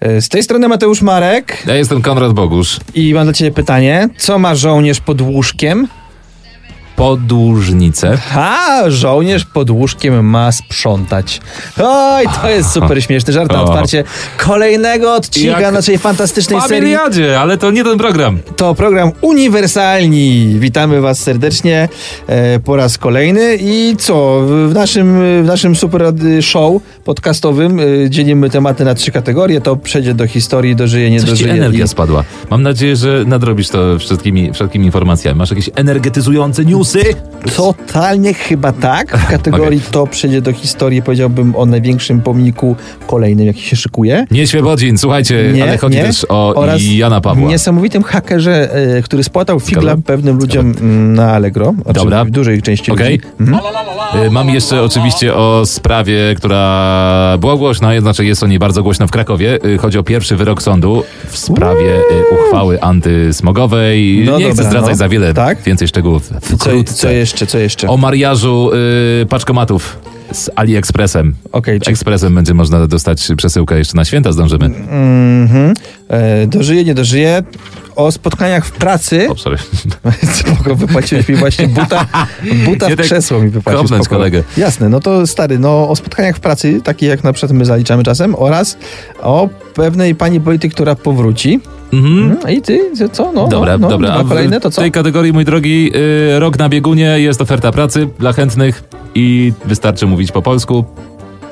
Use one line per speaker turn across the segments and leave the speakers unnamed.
E, Z tej strony Mateusz Marek
Ja jestem Konrad Bogusz.
i mam dla ciebie pytanie. Co ma żołnierz pod łóżkiem?
Podłużnice.
A, żołnierz pod łóżkiem ma sprzątać. Oj, to jest super śmieszny żart na
O.
otwarcie kolejnego odcinka
Jak
naszej fantastycznej serii.
Familiadzie, ale to nie ten program.
To program Uniwersalni. Witamy Was serdecznie e, po raz kolejny. I co, w- w naszym, w naszym super e, show podcastowym e, dzielimy tematy na trzy kategorie. To przejdzie do historii, dożyje, nie
Coś ci
dożyje.
energia
i-
spadła. Mam nadzieję, że nadrobisz to wszystkimi, wszelkimi informacjami. Masz jakieś energetyzujące newsy?
Totalnie chyba tak. W kategorii to przejdzie do historii, powiedziałbym o największym pomniku kolejnym, jaki się szykuje.
Nie Świebodzin, słuchajcie,
Nie,
Y, ale chodzi
nie.
też o
Oraz
Jana Pawła.
Niesamowitym hakerze, e, który spłatał figla
Zgadzam.
pewnym ludziom mm, na Allegro. Znaczy,
Dobra.
W dużej części
Okej.
ludzi.
Y, Mam jeszcze oczywiście o sprawie, która była głośna, znaczy jest o niej bardzo głośna w Krakowie. Y, Chodzi o pierwszy wyrok sądu w sprawie y, uchwały antysmogowej.
No
Nie
dobra,
chcę zdradzać
no.
za wiele
Tak?
więcej szczegółów.
Co,
Wkrótce.
co jeszcze, co jeszcze?
O mariażu y, paczkomatów z AliExpressem.
Okej, czyli
Ekspresem będzie można dostać przesyłkę jeszcze na święta, zdążymy.
mhm. e, dożyje, nie dożyje. O spotkaniach w pracy.
O, sorry.
Spoko, wypłaciłeś mi właśnie buta, buta w
Nie tak
krzesło mi wypłacił.
kopnąć
spoko.
kolegę.
Jasne, no to stary, no o spotkaniach w pracy, takie jak na przykład my zaliczamy czasem, oraz o pewnej pani polityk, która powróci.
Mhm.
Mm, I ty, co? No,
Dobra,
no, no,
dobra.
A kolejne to
W
co?
tej kategorii, mój drogi, y, rok na biegunie jest oferta pracy dla chętnych i wystarczy mówić po polsku.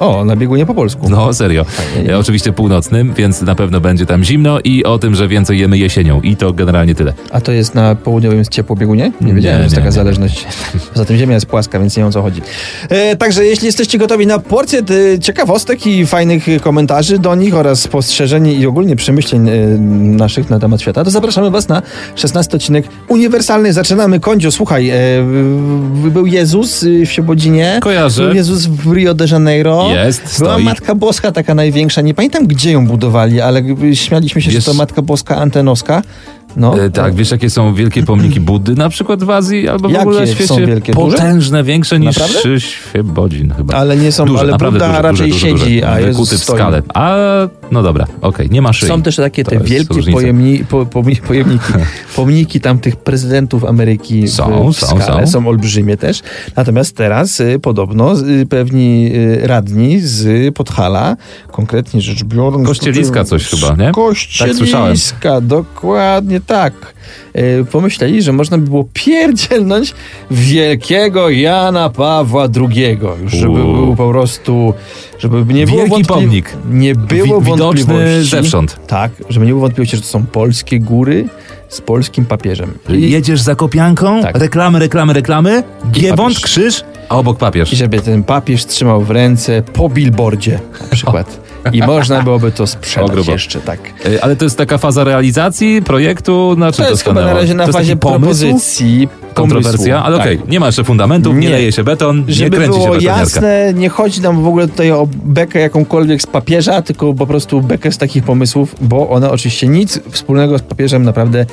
O, na biegunie po polsku.
No, serio.
nie, nie.
E, Oczywiście północnym, więc na pewno będzie tam zimno i o tym, że więcej jemy jesienią. I to generalnie tyle.
A to jest na południowym ciepłobiegunie? Nie wiedziałem,
Nie,
że jest
nie,
taka
nie.
zależność. Poza tym ziemia jest płaska, więc nie wiem o co chodzi. E, także jeśli jesteście gotowi na porcję e, ciekawostek i fajnych e, komentarzy do nich oraz spostrzeżeń i ogólnie przemyśleń e, naszych na temat świata, to zapraszamy was na 16 odcinek uniwersalny. Zaczynamy. Kądzio, słuchaj, e, w- był Jezus e, w Świebodzinie. Był
Kojarzę.
Jezus w Rio de Janeiro.
Jest,
Była
stoi.
Matka Boska taka największa. Nie pamiętam, gdzie ją budowali, ale e, śmialiśmy się,
Wiesz-
że to Matka Boska Antenoska. No,
E, tak, wiesz jakie są wielkie pomniki Buddy na przykład w Azji albo w
Jakie
ogóle na
są
świecie?
wielkie? Duże?
Potężne, większe niż
Naprawdę?
trzy Świebodzin chyba.
Ale nie są,
duże,
ale
naprawdę
Buddha
duże,
raczej
duże, duże,
siedzi,
duże.
a Jezus
Wykuty w
stoi.
skalę. A, no dobra, okej, nie ma szyi.
Są też takie
To
te
jest
wielkie
różnica.
pojemni, po, pomni- pojemniki, pomniki tamtych prezydentów Ameryki
Są,
w, w
są,
skale,
są.
są olbrzymie też. Natomiast teraz y, podobno y, pewni y, radni z Podhala, konkretnie rzecz biorąc...
Kościeliska
tutaj-
coś chyba, nie? Tak
z Kościeliska,
słyszałem.
dokładnie tak. Y, pomyśleli, że można by było pierdzielnąć wielkiego Jana Pawła II, już żeby
Uuu.
był po prostu... Żeby nie było
Wielki
wątpli-
pomnik.
Nie było
Wi- widoczny
wątpliwości.
zewsząd.
Tak, żeby nie było wątpliwości, że to są polskie góry z polskim papieżem. I,
Jedziesz za kopianką,
Tak.
reklamy, reklamy, reklamy, giewont,
papież.
krzyż, a obok papież.
I żeby ten papież trzymał w ręce po billboardzie na przykład. I można byłoby to
O,
sprzedać
grubo.
jeszcze, tak.
E, Ale to jest taka faza realizacji projektu, na czym
To
to
jest chyba na
stanęło?
razie na
To jest taki
fazie
pomysł?
propozycji.
Kontrowersja,
pomysłu.
ale
Tak.
okej, nie ma jeszcze fundamentów, nie,
Nie.
leje się beton, nie
Żeby
kręci się
było
betoniarka.
jasne, nie chodzi nam w ogóle tutaj o bekę jakąkolwiek z papieża, tylko po prostu bekę z takich pomysłów, bo one oczywiście nic wspólnego z papieżem naprawdę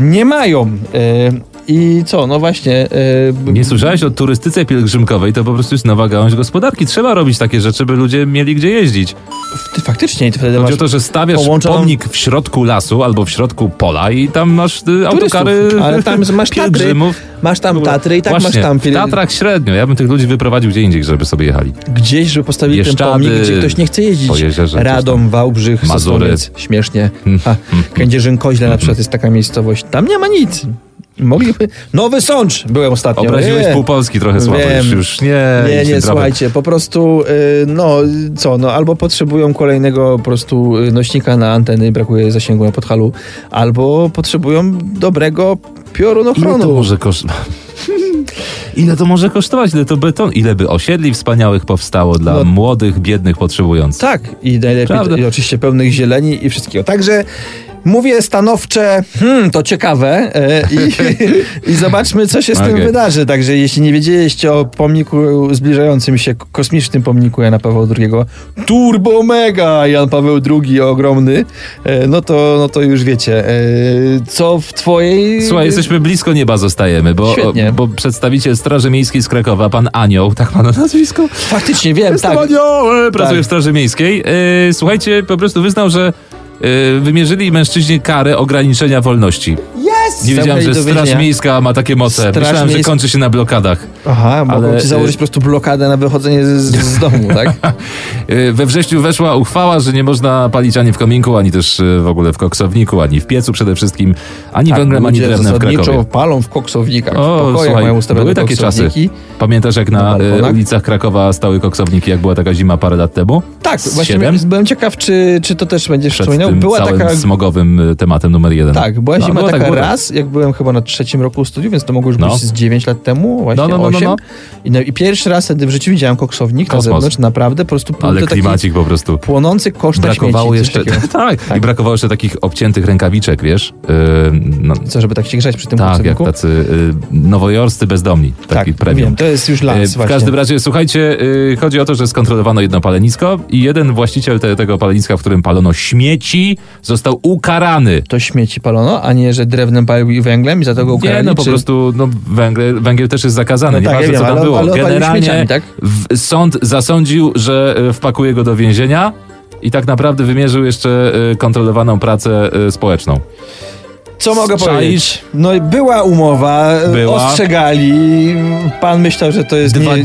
nie mają. E, I co, no właśnie. e, b-
Nie słyszałeś o turystyce pielgrzymkowej, to po prostu jest nowa gałąź gospodarki. Trzeba robić takie rzeczy, by ludzie mieli gdzie jeździć.
Ty faktycznie i wtedy
Chodzi
masz
o to, że stawiasz
połączoną-
pomnik w środku lasu albo w środku pola i tam masz y,
turystów,
autokary
ale tam masz Tatry,
pielgrzymów.
masz tam Tatry i tak
Właśnie,
masz tam
w Tatrach średnio. Ja bym tych ludzi wyprowadził gdzie indziej, żeby sobie jechali.
gdzieś, żeby postawili ten
Bieszczady,
pomnik, gdzie ktoś nie chce jeździć.
po jeziorze gdzieś
Radom, Wałbrzych,
Mazury.
Mazury. śmiesznie.
Mm,
A, Kędzierzyn-Koźle
Hmm,
na przykład jest taka miejscowość. Tam nie ma nic. Mogliby... Nowy Sącz byłem ostatnio.
Obraziłeś
Nie.
pół Polski trochę słabo.
Wiem.
Już, już nie,
Nie,
już
nie,
ten drabek.
słuchajcie, po prostu, y, no, y, co, no, albo potrzebują kolejnego po prostu y, nośnika na anteny, brakuje zasięgu na podhalu, albo potrzebują dobrego
Ile to
piorunochronu.
może kosztować? Ile to może kosztować? Ile to beton? Ile by osiedli wspaniałych powstało dla
No.
młodych, biednych, potrzebujących?
Tak, i najlepiej,
Prawda.
i oczywiście pełnych zieleni i wszystkiego. Także mówię stanowcze, hmm, to ciekawe e, i, i zobaczmy, co się z tym
Okej.
wydarzy. Także jeśli nie wiedzieliście o pomniku zbliżającym się, k- kosmicznym pomniku Jana Pawła II, turbo mega Jan Paweł II ogromny, e, no, to, no to już wiecie, e, co w twojej...
Słuchaj, jesteśmy blisko nieba zostajemy, bo,
Świetnie.
bo przedstawiciel Straży Miejskiej z Krakowa, pan Anioł, tak ma na nazwisko?
Faktycznie, wiem,
Jestem
tak.
Aniołem, pracuje
Tak.
w Straży Miejskiej. Yy, słuchajcie, po Y, prostu wyznał, że y, wymierzyli mężczyźnie karę ograniczenia wolności.
Yes!
Nie wiedziałem, że Straż Miejska ma takie moce.
Straż
Myślałem, że
miejska-
kończy się na blokadach.
Aha, mogą
Ale,
ci założyć
y-
po prostu blokadę na wychodzenie z, z domu, tak?
Y, We wrześniu weszła uchwała, że nie można palić ani w kominku, ani też y, w ogóle w koksowniku, ani w piecu przede wszystkim, ani węglem, ani
Tak, ludzie
drewnem w
zasadniczo
Krakowie.
palą w koksownikach, w
O,
pokojach
słuchaj,
mają ustawione
były takie czasy.
koksowniki.
Pamiętasz, jak
Na
na, y,
balkonach?
ulicach Krakowa stały koksowniki, jak była taka zima parę lat temu?
Tak,
Z
właśnie
siedem?
byłem ciekaw, czy, czy to też będziesz
Przed
wspominał.
tym
no, Była
całym
taka
smogowym y, tematem numer jeden.
Tak, była
No,
zima
było
taka
tak, było tak.
raz, jak byłem chyba na trzecim roku studiów, więc to mogło już
No.
być z 9 lat temu, właśnie
No, no, no, no,
8.
no.
I, no, I pierwszy raz wtedy w życiu widziałem koksownik
Kosmos.
na zewnątrz, naprawdę po prostu był
No, Ale
to taki
klimacik po prostu.
płonący kosz na
Brakowało
śmieci, coś
jeszcze.
takiego.
Tak, I brakowało jeszcze takich obciętych rękawiczek, wiesz? Yy, no,
Co, żeby tak się grzać przy tym
tak, jak
koksowniku?
tacy yy, nowojorscy bezdomni. Taki
tak,
premium.
wiem, to jest już
E,
las
W
właśnie.
każdym razie, słuchajcie, y, chodzi o to, że skontrolowano jedno palenisko i jeden właściciel te, tego paleniska, w którym palono śmieci, został ukarany.
To śmieci palono, a nie, że drewnem palił i węglem i za to go
Nie,
ukarali,
no po
czy...
prostu no, węgiel, węgiel też jest zakazany,
No tak,
nieważne
ja
co
wiem,
tam
ale-
było.
ale opalił
Generalnie
śmieciami, tak?
w, sąd zasądził, że y, wpakuje go do więzienia i tak naprawdę wymierzył jeszcze y, kontrolowaną pracę y, społeczną.
Co mogę
Czaisz?
powiedzieć? No i była umowa, e,
Była.
ostrzegali, pan myślał, że to jest nie, nie,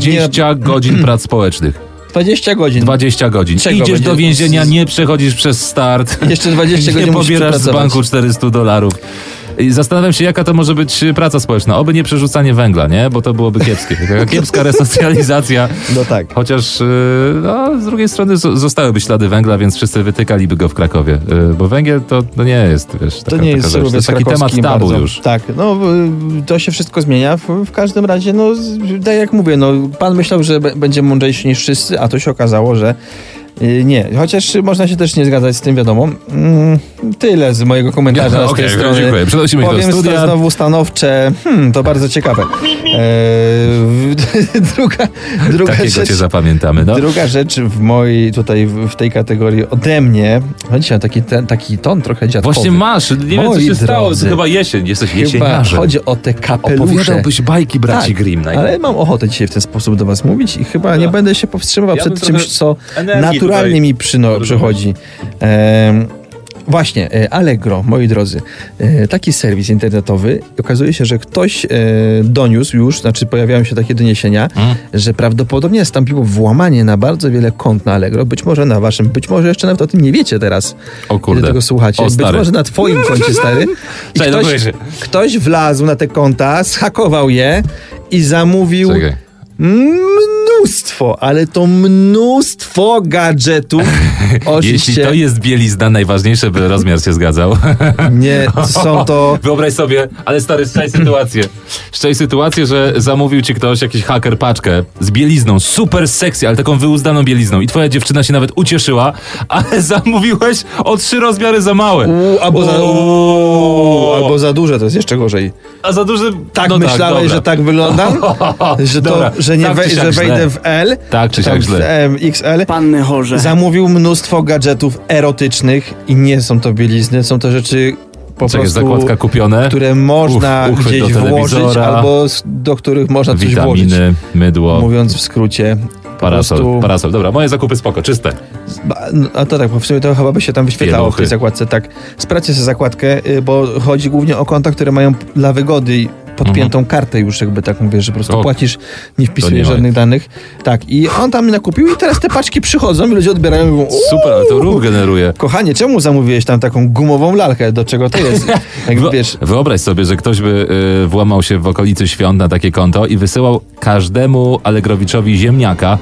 20 godzin prac społecznych.
20 godzin.
20 godzin.
Czego
Idziesz do
będzie-
więzienia, nie przechodzisz przez start.
Jeszcze 20
nie
godzin musisz
pobierasz z
przepracować.
banku 400 dolarów. I zastanawiam się, jaka to może być y, praca społeczna. Oby nie przerzucanie węgla, nie? Bo to byłoby kiepskie. Taka Kiepska resocjalizacja.
No tak.
Chociaż y, no, z drugiej strony zo- zostałyby ślady węgla, więc wszyscy wytykaliby go w Krakowie. Y, Bo węgiel to no nie jest, wiesz, taka,
To nie jest
taka rzecz. To
surowiec
jest taki temat
krakowski
tabu
bardzo.
już.
Tak, no y, to się wszystko zmienia. W, w każdym razie, no z- tak jak mówię, no pan myślał, że b- będzie mądrzejszy niż wszyscy, a to się okazało, że y, nie. Chociaż y, można się też nie zgadzać z tym, wiadomo. Mm, tyle z mojego komentarza z tej
Okej,
strony.
dziękuję. Przenosimy się do
Powiem
studia.
sta- znowu stanowcze, hmm, to bardzo ciekawe. Eee, druga druga
Takiego
rzecz.
cię zapamiętamy. No.
Druga rzecz w mojej, tutaj w w tej kategorii ode mnie, no dzisiaj mam taki, ten, taki ton trochę dziadkowy.
Właśnie masz, nie wiem co
Moi
się stało,
drodzy.
to chyba jesień, jesteś
Chyba
jesieniarzem.
chodzi o te kapelusze. Tak,
Opowiadałbyś bajki braci Grimm. najlepiej.
ale mam ochotę dzisiaj w ten sposób do was mówić i chyba nie
No.
będę się powstrzymywał
Ja
przed
bym
czymś,
trochę
co
energii
naturalnie
tutaj
mi przyno-
Dobrze.
przychodzi. Em, właśnie, e, Allegro, moi drodzy, e, taki serwis internetowy, okazuje się, że ktoś e, doniósł już, znaczy pojawiają się takie doniesienia,
Mm.
że prawdopodobnie nastąpiło włamanie na bardzo wiele kont na Allegro, być może na waszym, być może jeszcze nawet o tym nie wiecie teraz,
O
kiedy
kurde.
tego słuchacie,
O,
być
stary. no
może na twoim koncie, stary. I
Czekaj,
ktoś,
loguję się.
ktoś wlazł na te konta, zhakował je i zamówił
Czekaj.
mnóstwo, ale to mnóstwo gadżetów. Oczywiście
Jeśli to jest bielizna, najważniejsze, by rozmiar się zgadzał.
nie są to...
Wyobraź sobie, ale stary, szczaj sytuację. Szczaj sytuację, że zamówił ci ktoś, jakiś haker, paczkę z bielizną, super sexy, ale taką wyuzdaną bielizną i twoja dziewczyna się nawet ucieszyła, ale zamówiłeś o trzy rozmiary za małe.
U, albo, za,
Uuu,
albo za duże, to jest jeszcze gorzej.
A za duży...
Tak
no
myślałeś,
dobra.
że tak wyglądam? Że, to,
Dobra,
że, nie
tak
wej-
czy siak
że wejdę
źle.
w L?
Tak czy siak
tam
źle.
w M, XL?
Panny chorze.
Zamówił mnóstwo gadżetów erotycznych i nie są to bielizny, są to rzeczy po
Czekaj,
prostu...
zakładka kupione,
Które można
uchwyt
gdzieś
do
włożyć
telewizora,
albo s- do których można coś włożyć.
witaminy, mydło,
Mówiąc w skrócie,
parasol,
prostu-
parasol. Dobra, moje zakupy spoko, czyste.
Ba- no, A to tak, bo w sumie to chyba by się tam wyświetlało w
Pieluchy.
tej zakładce, tak. Sprawdźcie sobie zakładkę, y, bo chodzi głównie o konta, które mają p- dla wygody i podpiętą kartę już, jakby tak mówię, że po prostu
Mhm. O,
płacisz, nie
nie
wpisujesz
moje.
żadnych danych. Tak, i on tam nakupił i teraz te paczki przychodzą i ludzie odbierają i mówią,
Super, ale to
"Uuu,
ruch generuje.
Kochanie, czemu zamówiłeś tam taką gumową lalkę? Do czego to jest? Jak
Wyo-
wiesz,
Wyobraź sobie, że ktoś by y, włamał się w okolicy świąt na takie konto i wysyłał każdemu Allegrowiczowi ziemniaka.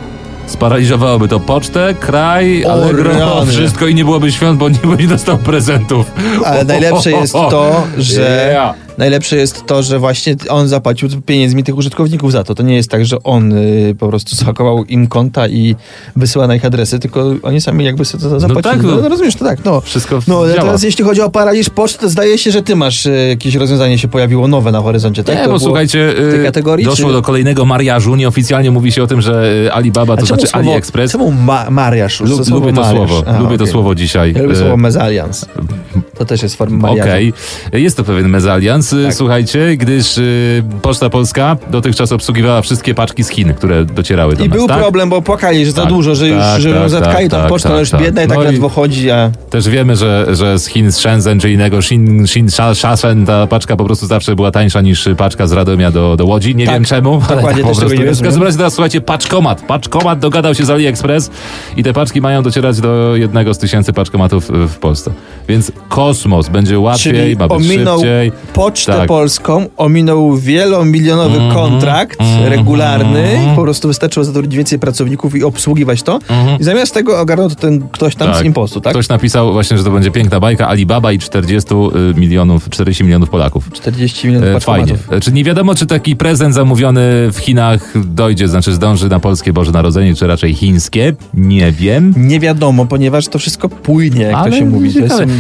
Sparaliżowałoby to pocztę, kraj,
O
Allegro,
rany.
wszystko i nie byłoby świąt, bo nikt by nie dostał prezentów.
ale najlepsze jest to, że...
Yeah.
Najlepsze jest to, że właśnie on zapłacił pieniędzmi tych użytkowników za to. To nie jest tak, że on y, po prostu zhakował im konta i wysyła na ich adresy, tylko oni sami jakby sobie to zapłacili.
tak,
No,
no.
no rozumiesz, to tak, no.
Wszystko
No, ale
działa.
teraz jeśli chodzi o paraliż poczty, to zdaje się, że ty masz y, jakieś rozwiązanie się pojawiło nowe na horyzoncie, tak?
Nie,
To
bo
było-
słuchajcie,
w tej
y,
kategorii,
doszło
czy-
do kolejnego mariażu. Nieoficjalnie mówi się o tym, że y, Alibaba,
A
to
czemu
znaczy
słowo-
AliExpress.
Czemu ma- mariaż?
Lu-
Co słowo
lubię to
mariaż?
słowo,
Aha,
lubię to
okej.
słowo dzisiaj.
Ja lubię
Y,
słowo mezalians. To też jest forma mariażu.
Okej, jest to pewien mezalians, y,
Tak.
słuchajcie, gdyż y, Poczta Polska dotychczas obsługiwała wszystkie paczki z Chin, które docierały do
I
nas,
był
tak?
problem, bo płakali, że za
Tak,
dużo, że już
tak,
że
tak,
ją zatkali
tak,
tą
tak,
pocztą,
tak,
ale już
tak.
biedna i tak
No i-
ledwo chodzi, a...
Też wiemy, że, że z Chin, z Shenzhen czy innego Shin, Shin, Sha- Shashen ta paczka po prostu zawsze była tańsza niż paczka z Radomia do, do Łodzi. Nie
Tak,
wiem czemu, ale tak
dokładnie,
po
też
prostu
tego nie
jest. W każdym
rozumiem.
razie teraz słuchajcie, paczkomat. Paczkomat dogadał się z AliExpress i te paczki mają docierać do jednego z tysięcy paczkomatów y, w Polsce. Więc kosmos będzie łatwiej,
Czyli
ma być
ominął
szybciej.
Pocztę
Tak. Mhm,
Polską ominął wielomilionowy kontrakt regularny. Po prostu wystarczyło zatrudnić więcej pracowników i obsługiwać to. I zamiast tego ogarnął to ten ktoś tam
Mhm. Tak.
z impostu, tak?
Ktoś napisał właśnie, że to będzie piękna bajka Alibaba i 40 y, milionów, 40 milionów Polaków.
40
E,
milionów
Fajnie.
paczkomatów.
Czy nie wiadomo, czy taki prezent zamówiony w Chinach dojdzie, znaczy zdąży na polskie Boże Narodzenie, czy raczej chińskie? Nie wiem.
Nie wiadomo, ponieważ to wszystko płynie, jak
Ale
to się mówi. To
ciekawe.
są-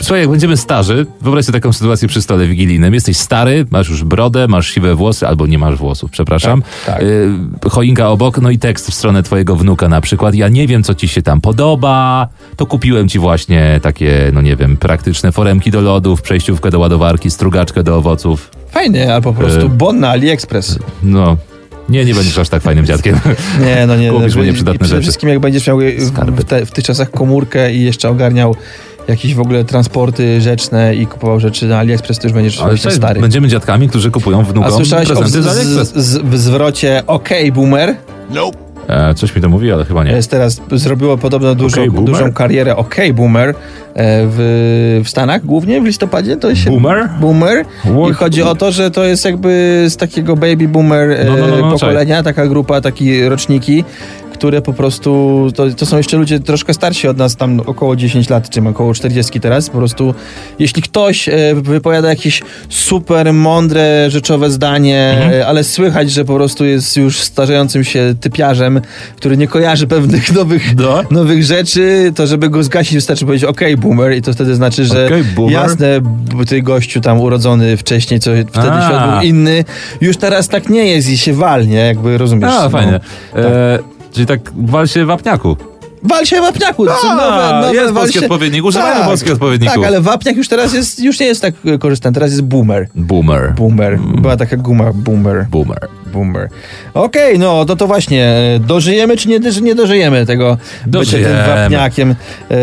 Słuchaj, jak będziemy starzy, wyobraź sobie taką sytuację przy stole wigilijnym. Jesteś stary, masz już brodę, masz siwe włosy, albo nie masz włosów, przepraszam.
Tak, tak.
Y, choinka obok, no i tekst w stronę twojego wnuka na przykład. Ja nie wiem, co ci się tam podoba, to kupiłem ci właśnie takie, no nie wiem, praktyczne foremki do lodów, przejściówkę do ładowarki, strugaczkę do owoców.
Fajnie, ale po prostu
E.
bon na AliExpress.
No, nie, nie będziesz aż tak fajnym dziadkiem.
Nie, no nie.
Kupisz
no,
mu
i-
nieprzydatne
i Przede
rzeczy.
wszystkim jak będziesz miał y,
Skarby.
w, te, w tych czasach komórkę i jeszcze ogarniał jakieś w ogóle transporty rzeczne i kupował rzeczy na AliExpress, to już będziesz
Ale
oczywiście
cześć,
stary.
będziemy dziadkami, którzy kupują
A
wnukom
słyszałeś o z,
prezenty z
z,
AliExpress.
z, w zwrocie OK Boomer?
E, coś mi to mówi, ale chyba nie.
Jest teraz, zrobiło podobno dużą,
OK, Boomer?
dużą karierę OK Boomer e, w, w Stanach, głównie w listopadzie. To się
Boomer?
Boomer. I
What?
chodzi o to, że to jest jakby z takiego baby boomer e,
No, no, no, no,
pokolenia, taka grupa, takie roczniki, które po prostu, to, to są jeszcze ludzie troszkę starsi od nas, tam około 10 lat, czy około 40 teraz, po prostu jeśli ktoś e, wypowiada jakieś super mądre, rzeczowe zdanie,
Mhm.
e, ale słychać, że po prostu jest już starzejącym się typiarzem, który nie kojarzy pewnych nowych,
Do?
nowych rzeczy, to żeby go zgasić wystarczy powiedzieć OK boomer i to wtedy znaczy, że
Okej, boomer.
jasne, b- ty gościu tam urodzony wcześniej, co wtedy
A.
świat był inny, już teraz tak nie jest i się walnie, jakby rozumiesz.
A,
no.
fajnie. E, czyli tak wal się wapniaku.
Wal się wapniaku, to są nowe, nowe
no, jest
No, wal
polski
się...
odpowiednik, używają
Tak.
polskich odpowiedników.
Tak, ale wapniak już teraz jest, już nie jest tak e, korzystany, teraz jest boomer.
Boomer.
Boomer, była taka guma, boomer,
Boomer.
boomer. Okej, no to to właśnie, e, dożyjemy czy nie, czy nie dożyjemy tego bycia
Dożyjemy.
tym wapniakiem, E,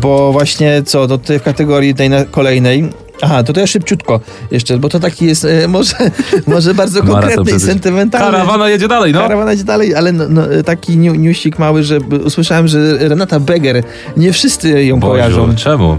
bo właśnie co, to tutaj w kategorii tej na, kolejnej, aha, to to ja szybciutko jeszcze, bo to taki jest e, może, może bardzo
Maraton
konkretny i
przeżyć.
sentymentalny.
Karawana jedzie dalej, no.
Karawana idzie dalej, ale no, no, taki niu- newsik mały, że b- usłyszałem, że Renata Beger, nie wszyscy ją
Boziu,
kojarzą.
czemu?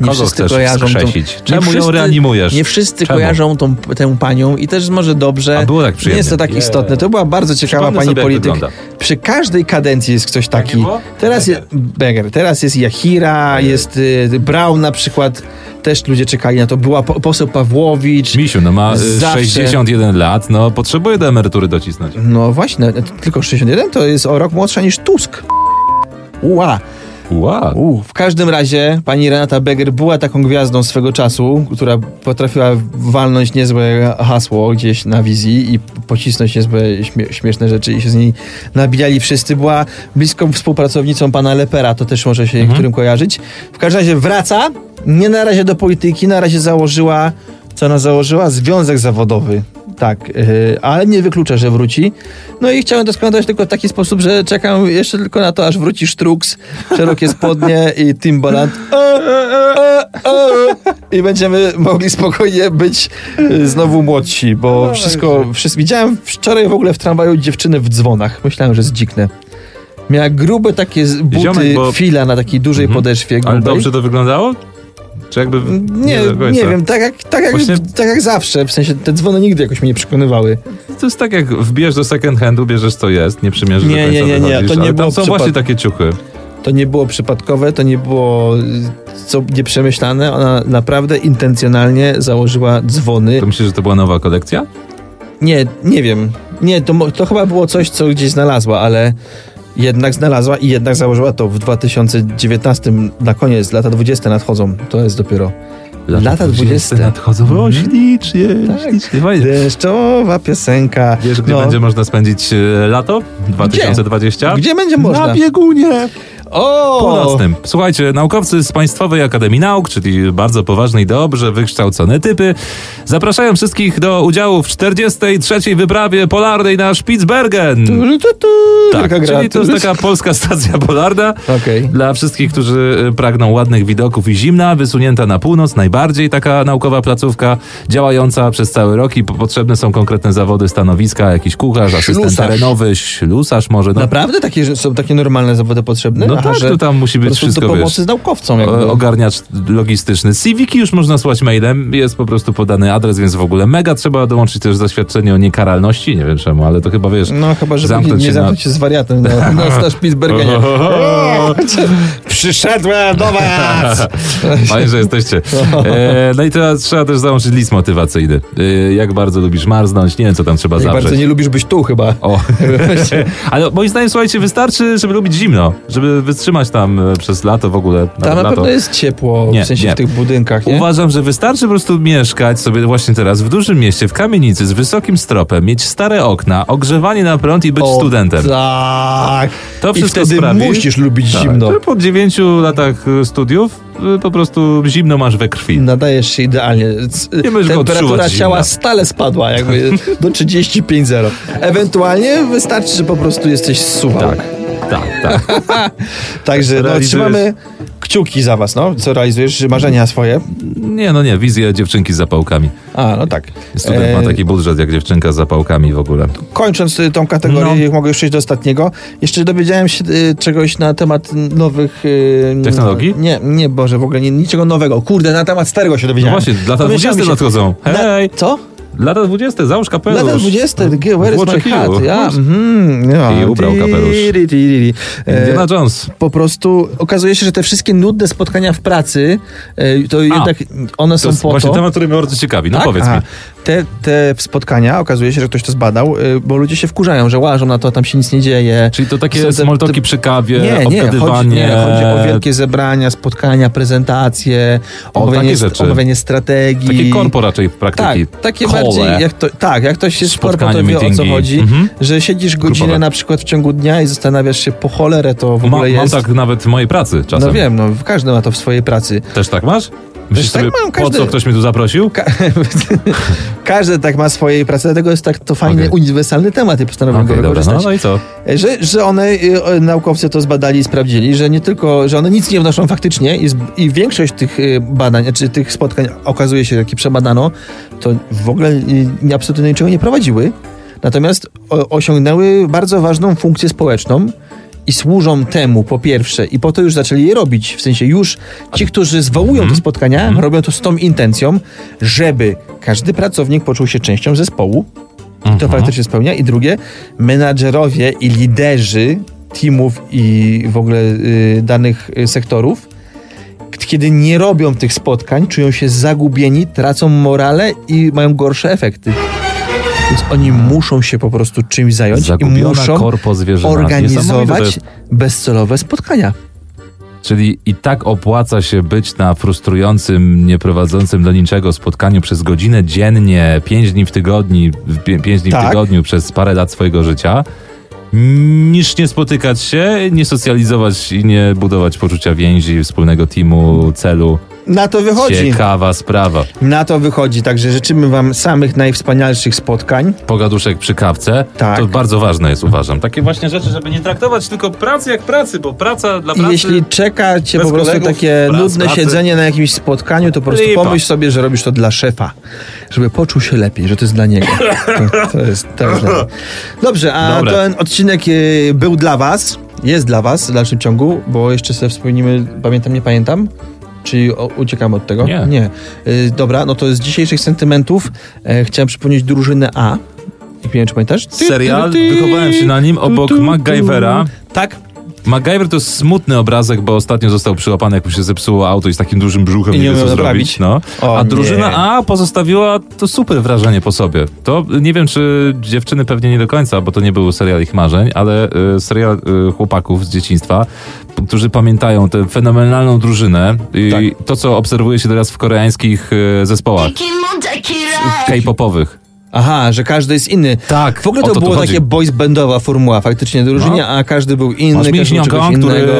Nie
Kogo
wszyscy
chcesz
kojarzą tą-
wskrzesić?
nie
Czemu ją
wszyscy-
reanimujesz?
Nie wszyscy
Czemu?
kojarzą tą, tę panią i też może dobrze.
A było tak przyjemnie.
Nie jest to tak
Yeah.
istotne. To była bardzo ciekawa
Przypomnę
pani
sobie, jak
polityk.
wygląda.
Przy każdej kadencji jest ktoś taki.
było?
Teraz jest Beger, teraz jest Jahira, jest y, Brown na przykład. Też ludzie czekali na to. Była po, poseł Pawłowicz.
Misiu, no ma y,
Zawsze.
61 lat, no potrzebuje do emerytury docisnąć.
No właśnie, tylko 61 to jest o rok młodsza niż Tusk. Ua.
Wow.
U, w każdym razie pani Renata Beger była taką gwiazdą swego czasu, która potrafiła walnąć niezłe hasło gdzieś na wizji i pocisnąć niezłe śmie śmieszne rzeczy i się z niej nabijali wszyscy. Była bliską współpracownicą pana Lepera, to też może się niektórym kojarzyć. W każdym razie wraca, nie na razie do polityki, na razie założyła, co ona założyła? Związek zawodowy. Tak, yy, ale nie wykluczę, że wróci. No i chciałem to skomentować tylko w taki sposób, że czekam jeszcze tylko na to, aż wróci Sztruks, szerokie spodnie i Timbaland. E, e, e. I będziemy mogli spokojnie być y, znowu młodsi,
No
bo wszystko, wszystko... Widziałem wczoraj w ogóle w tramwaju dziewczynę w dzwonach. Myślałem, że zdiknę. Miała grube takie z- buty,
Ziomek, bo-
fila na takiej dużej
Mhm.
podeszwie
Ale
grubej.
dobrze to wyglądało? Czy jakby...
Nie,
do
nie,
końca.
wiem, tak jak, tak, jak,
Właśnie-
tak jak zawsze. W sensie te dzwony nigdy jakoś mnie nie przekonywały.
To jest tak, jak wbijesz do second handu, bierzesz co jest, nie przymierzysz
Nie,
do
nie,
końca
nie, nie,
wychodzisz,
to nie
ale
było
tam są
przypad-
właśnie takie ciuchy.
To nie było przypadkowe, to nie było y, co nieprzemyślane. Ona naprawdę intencjonalnie założyła dzwony.
To myślisz, że to była nowa kolekcja?
Nie, nie wiem. Nie, to, mo- to chyba było coś, co gdzieś znalazła, ale jednak znalazła i jednak założyła to w 2019, na koniec, lata 20 nadchodzą. To jest dopiero. Lata 20.
nadchodzą. O, ślicznie,
Tak.
ślicznie, fajnie.
Deszczowa piosenka.
Wiesz, gdzie
No.
będzie można spędzić e, lato 2020?
Gdzie będzie można?
Na biegunie.
O!
Północnym. Słuchajcie, naukowcy z Państwowej Akademii Nauk, czyli bardzo poważne i dobrze wykształcone typy, zapraszają wszystkich do udziału w 43. wyprawie polarnej na Spitsbergen.
Tu, tu, tu,
Tak,
taka gra.
czyli to jest taka polska stacja polarna.
Okej.
Dla wszystkich, którzy e, pragną ładnych widoków i zimna, wysunięta na północ, najbardziej taka naukowa placówka działająca przez cały rok i po- potrzebne są konkretne zawody, stanowiska, jakiś kucharz, asystent
Ślusarz.
terenowy, ślusarz może. No,
Naprawdę takie, że są takie normalne zawody potrzebne?
no tak,
że
to tam musi
po
być
prostu
wszystko,
do
wiesz.
pomocy z naukowcą jakby.
E, ogarniacz logistyczny. CV-ki już można słać mailem, jest po prostu podany adres, więc w ogóle mega trzeba dołączyć też zaświadczenie o niekaralności, nie wiem czemu, ale to chyba wiesz...
No chyba, żeby
Zamknąć
nie,
się
nie
na-
zamknąć się z wariatem no. na, na staż Pittsburghenia. Przyszedłem do was!
Fajnie, że jesteście. E, no i teraz trzeba też załączyć list motywacyjny. E, jak bardzo lubisz marznąć, nie wiem co tam trzeba
Jak
zawrzeć.
bardzo nie lubisz być tu chyba.
O. Ale moim zdaniem, słuchajcie, wystarczy, żeby lubić zimno, żeby wytrzymać tam e, przez lato w ogóle.
Tam
nawet
na
lato.
pewno jest ciepło,
Nie,
w sensie
nie.
w tych budynkach, nie?
Uważam, że wystarczy po prostu mieszkać sobie właśnie teraz w dużym mieście, w kamienicy z wysokim stropem, mieć stare okna, ogrzewanie na prąd i być
O,
studentem.
Tak.
To
I
wszystko
wtedy
sprawi,
musisz lubić
tak,
zimno.
że Po dziewięciu latach e, studiów e, po prostu zimno masz we krwi.
Nadajesz się idealnie. C-
Nie będziesz go
Temperatura
odczuwać
ciała
zimna.
stale spadła, jakby do 35,0. Ewentualnie wystarczy, że po prostu jesteś suwa.
Tak, tak, tak.
Także no,
Realizujesz-
trzymamy kciuki za was, no. Co realizujesz? Marzenia swoje?
Nie, no nie, wizja dziewczynki z zapałkami.
A, no tak.
Student
E,
ma taki budżet jak dziewczynka z zapałkami w ogóle.
Kończąc y, tą kategorię,
No.
jak mogę już przejść do ostatniego. Jeszcze dowiedziałem się y, czegoś na temat nowych... y,
Technologii?
Nie, nie, Boże, w ogóle nie, niczego nowego. Kurde, na temat starego się
No
dowiedziałem.
właśnie, lata
Dowiedziałem
20
się.
nadchodzą. Hej,
Na, co?
lata 20, załóż kapelusz.
Lata 20, G, where is
Włóczek
my hat?
Hugh.
Ja, mhm, ja.
I ubrał kapelusz.
Di, di, di, di.
Indiana
E,
Jones.
po prostu okazuje się, że te wszystkie nudne spotkania w pracy, e, to jednak one
To
są
jest
po
właśnie
to...
temat, który mnie bardzo ciekawi. No
Tak?
powiedz
Aha.
mi.
Te, te spotkania, okazuje się, że ktoś to zbadał, y, bo ludzie się wkurzają, że łażą na to, tam się nic nie dzieje.
Czyli to
Są
takie
te-
smoltoki
te-
przy kawie,
nie, nie chodzi,
obgadywanie.
nie, chodzi o wielkie zebrania, spotkania, prezentacje,
O,
omawianie,
takie rzeczy.
omawianie strategii.
e, Takie korpo raczej praktyki.
Tak, takie
Kole.
bardziej, jak to, tak, jak ktoś jest
Spotkania,
korpo, to wie o co
meetingi.
chodzi,
Mhm.
że siedzisz godzinę
Grupowe.
na przykład w ciągu dnia i zastanawiasz się po cholerę to w
Ma,
ogóle
Mam
jest.
tak nawet w mojej pracy czasem.
no wiem, no każdy ma to w swojej pracy.
Też tak masz? Myślisz
tak
sobie,
mam,
po
każdy-
co ktoś mnie tu zaprosił?
Ka- każdy tak ma w swojej pracy, dlatego jest tak to fajny,
Okej.
uniwersalny temat i postanowiłem
Okej,
go
dobra, no,
wykorzystać.
no i co?
Że, że one, y, o, naukowcy to zbadali i sprawdzili, że nie tylko, że one nic nie wnoszą faktycznie i, z- i większość tych y, badań, czy tych spotkań okazuje się, jakie przebadano, to w ogóle y, absolutnie niczego nie prowadziły. Natomiast o, osiągnęły bardzo ważną funkcję społeczną i służą temu po pierwsze i po to już zaczęli je robić. W sensie już ci, którzy zwołują te spotkania, robią to z tą intencją, żeby każdy pracownik poczuł się częścią zespołu, i
Mhm.
to faktycznie spełnia. I drugie, menadżerowie i liderzy teamów i w ogóle y, danych y, sektorów, k- kiedy nie robią tych spotkań, czują się zagubieni, tracą morale i mają gorsze efekty. Więc oni muszą się po prostu czymś zająć i
Mhm. Zagubiona
muszą
korpo zwierzyna. Niesamowite to
organizować
jest.
bezcelowe spotkania.
Czyli i tak opłaca się być na frustrującym, nieprowadzącym do niczego spotkaniu przez godzinę dziennie, pięć dni w tygodniu, w pię- pięć dni w
Tak.
tygodniu przez parę lat swojego życia, niż nie spotykać się, nie socjalizować i nie budować poczucia więzi, wspólnego teamu, celu.
Na to wychodzi.
Ciekawa sprawa.
Na to wychodzi. Także życzymy Wam samych najwspanialszych spotkań.
Pogaduszek przy kawce,
Tak.
to bardzo ważne jest, uważam. Takie właśnie rzeczy, żeby nie traktować tylko pracy jak pracy, bo praca dla
I
pracy...
jeśli czeka cię
bez
po prostu
kolegów,
takie
wraz z
nudne
pracy.
siedzenie na jakimś spotkaniu, to po prostu
Lipa.
pomyśl sobie, że robisz to dla szefa, żeby poczuł się lepiej, że to jest dla niego. To, to jest, to jest dla niego. Dobrze, a
Dobra.
ten odcinek y, był dla was, jest dla was w dalszym ciągu, bo jeszcze sobie wspomnimy, pamiętam, nie pamiętam. Czyli o, uciekamy od tego?
Nie.
nie. Y, dobra, no to z dzisiejszych sentymentów e, chciałem przypomnieć drużynę A. Jak wiem, czy pamiętasz?
Serial, wychowałem się na nim obok
Tu, tu, tu.
MacGyvera.
Tak,
MacGyver to smutny obrazek, bo ostatnio został przyłapany, jak mu się zepsuło auto i z takim dużym brzuchem
I
nie,
nie
wie co
umiał
zrobić.
naprawić.
No.
O
A drużyna
nie.
A pozostawiła to super wrażenie po sobie. To nie wiem, czy dziewczyny pewnie nie do końca, bo to nie był serial ich marzeń, ale y, serial y, chłopaków z dzieciństwa, p- którzy pamiętają tę fenomenalną drużynę i
Tak.
to, co obserwuje się teraz w koreańskich y, zespołach
Taking on tequila.
k-popowych.
Aha, że każdy jest inny.
Tak,
W ogóle to,
o to tu
było
chodzi. No.
takie boys bandowa formuła faktycznie drużynie, a każdy był inny,
Masz
każdy był
mięśniaka,
czegoś
który
innego.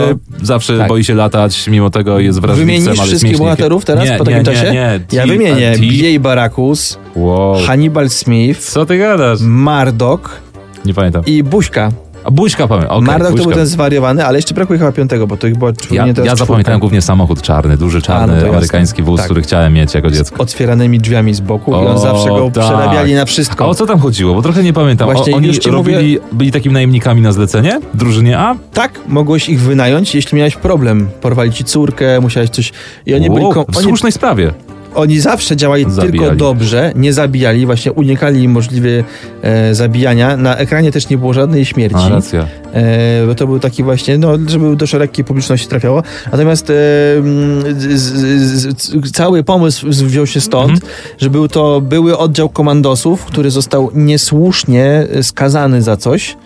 zawsze
Tak.
boi się latać, mimo tego jest wrażliwcem,
Wymienisz
ale jest
wszystkich
mięśnikiem.
bohaterów teraz
nie,
po takim
nie,
czasie?
Nie, nie,
Ja
T-
wymienię
T-
B.A. Barakus,
Wow.
Hannibal Smith,
Co ty gadasz?
Mardok
Nie pamiętam.
i Buźka.
A Buźka pamiętam. Okay,
Mardok to
Buźka.
był ten zwariowany, ale jeszcze brakuje chyba piątego, bo to ich było czwórka.
Ja,
nie, teraz
ja
czwórka.
zapamiętałem głównie samochód czarny, duży
A, no
czarny
to
amerykański
jasne.
wóz,
Tak.
który chciałem mieć jako dziecko.
Otwieranymi drzwiami z boku i on
O,
zawsze go
tak.
przerabiali na
A
wszystko.
o co tam chodziło? Bo trochę nie pamiętam.
Właśnie
o, oni
już ci
robili, byli takimi najemnikami na zlecenie? w Drużynie A?
Tak, mogłeś ich wynająć, jeśli miałeś problem. Porwali ci córkę, musiałeś coś... I oni byli...
Wow,
Kom...
w
Oni,
słusznej sprawie.
oni zawsze działali tylko
Zabijali.
dobrze, nie zabijali, właśnie unikali możliwie e, zabijania. Na ekranie też nie było żadnej śmierci.
A, racja.
E, bo to był taki właśnie, no, żeby do szerokiej publiczności trafiało. Natomiast e, mm, z, z, z, cały pomysł z- wziął się stąd,
Mhm.
że był to były oddział komandosów, który został niesłusznie e, skazany za coś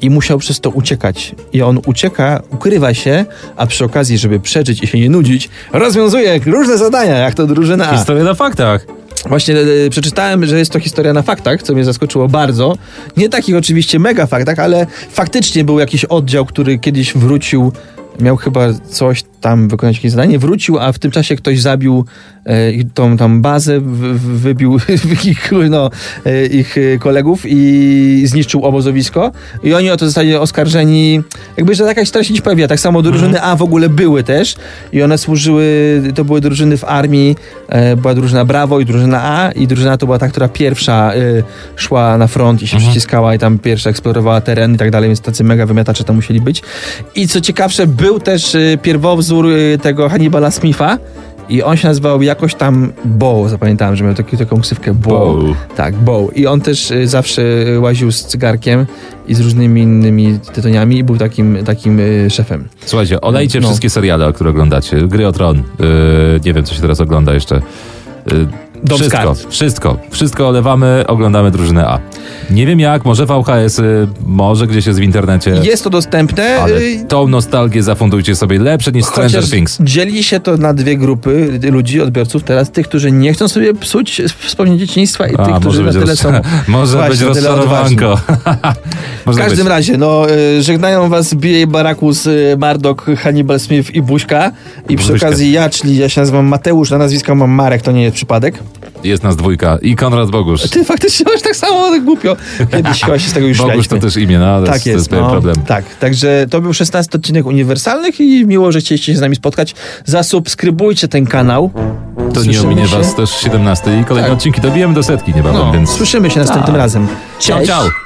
i musiał przez to uciekać. I on ucieka, ukrywa się, a przy okazji, żeby przeżyć i się nie nudzić, rozwiązuje różne zadania, jak to drużyna A.
Historia na faktach.
Właśnie e, przeczytałem, że jest to historia na faktach, co mnie zaskoczyło bardzo. Nie takich oczywiście mega faktach, ale faktycznie był jakiś oddział, który kiedyś wrócił, miał chyba coś tam wykonać jakieś zadanie, wrócił, a w tym czasie ktoś zabił e, ich tą tam bazę, w, w, wybił ich, no, e, ich e, kolegów i zniszczył obozowisko. I oni o to zostali oskarżeni, jakby, że jakaś stracić pewia. Tak samo drużyny A w ogóle były też i one służyły, to były drużyny w armii, e, była drużyna Bravo i drużyna A i drużyna to była ta, która pierwsza e, szła na front i się
Mhm.
przyciskała i tam pierwsza eksplorowała teren i tak dalej, więc tacy mega wymiatacze tam musieli być. I co ciekawsze, był też e, pierwowzór e, tego Hannibala Smitha i on się nazywał jakoś tam Bow, zapamiętałem, że miał taki, taką ksywkę Bow.
Wow.
Tak, Bow. I on też y, zawsze y, łaził z cygarkiem i z różnymi innymi tytoniami i był takim, takim y, szefem.
Słuchajcie, olejcie
No.
wszystkie seriale, które oglądacie. Gry o Tron. Yy, nie wiem, co się teraz ogląda jeszcze. Yy,
Dom z
wszystko,
kart.
wszystko, wszystko olewamy, oglądamy drużynę A. Nie wiem jak, może VHS, -y, może gdzieś jest w internecie,
Jest to dostępne.
ale
y,
tą nostalgię zafundujcie sobie lepsze niż Stranger
Chociaż
Things.
dzieli się to na dwie grupy y, ludzi, odbiorców teraz, tych, którzy nie chcą sobie psuć y, wspomnień dzieciństwa i
A,
tych, którzy na
może
tyle
być,
są.
roz... może
Właśnie,
być
na tyle
rozczarowanko.
W
Może
każdym
być.
razie, no, y, żegnają was B.A. Barakus, y, Mardok, Hannibal Smith i Buźka. I przy
Buźka.
okazji ja, czyli ja się nazywam Mateusz, na nazwisko mam Marek, to nie jest przypadek.
Jest nas dwójka i Konrad Bogusz.
Ty faktycznie masz tak samo ale głupio. Kiedyś chyba się z tego już
Bogusz
śmialiśmy.
to też imię, no, to
Tak
jest, to jest
jest.
pewien
no.
problem.
Tak, także to był 16 odcinek Uniwersalnych i miło, że chcieliście się z nami spotkać. Zasubskrybujcie ten kanał.
To nie
Słyszymy
ominie
się.
was też 17 i kolejne
Tak.
odcinki. Dobijemy do setki niebawem,
No,
więc...
słyszymy się następnym razem.
Ciao, ciao!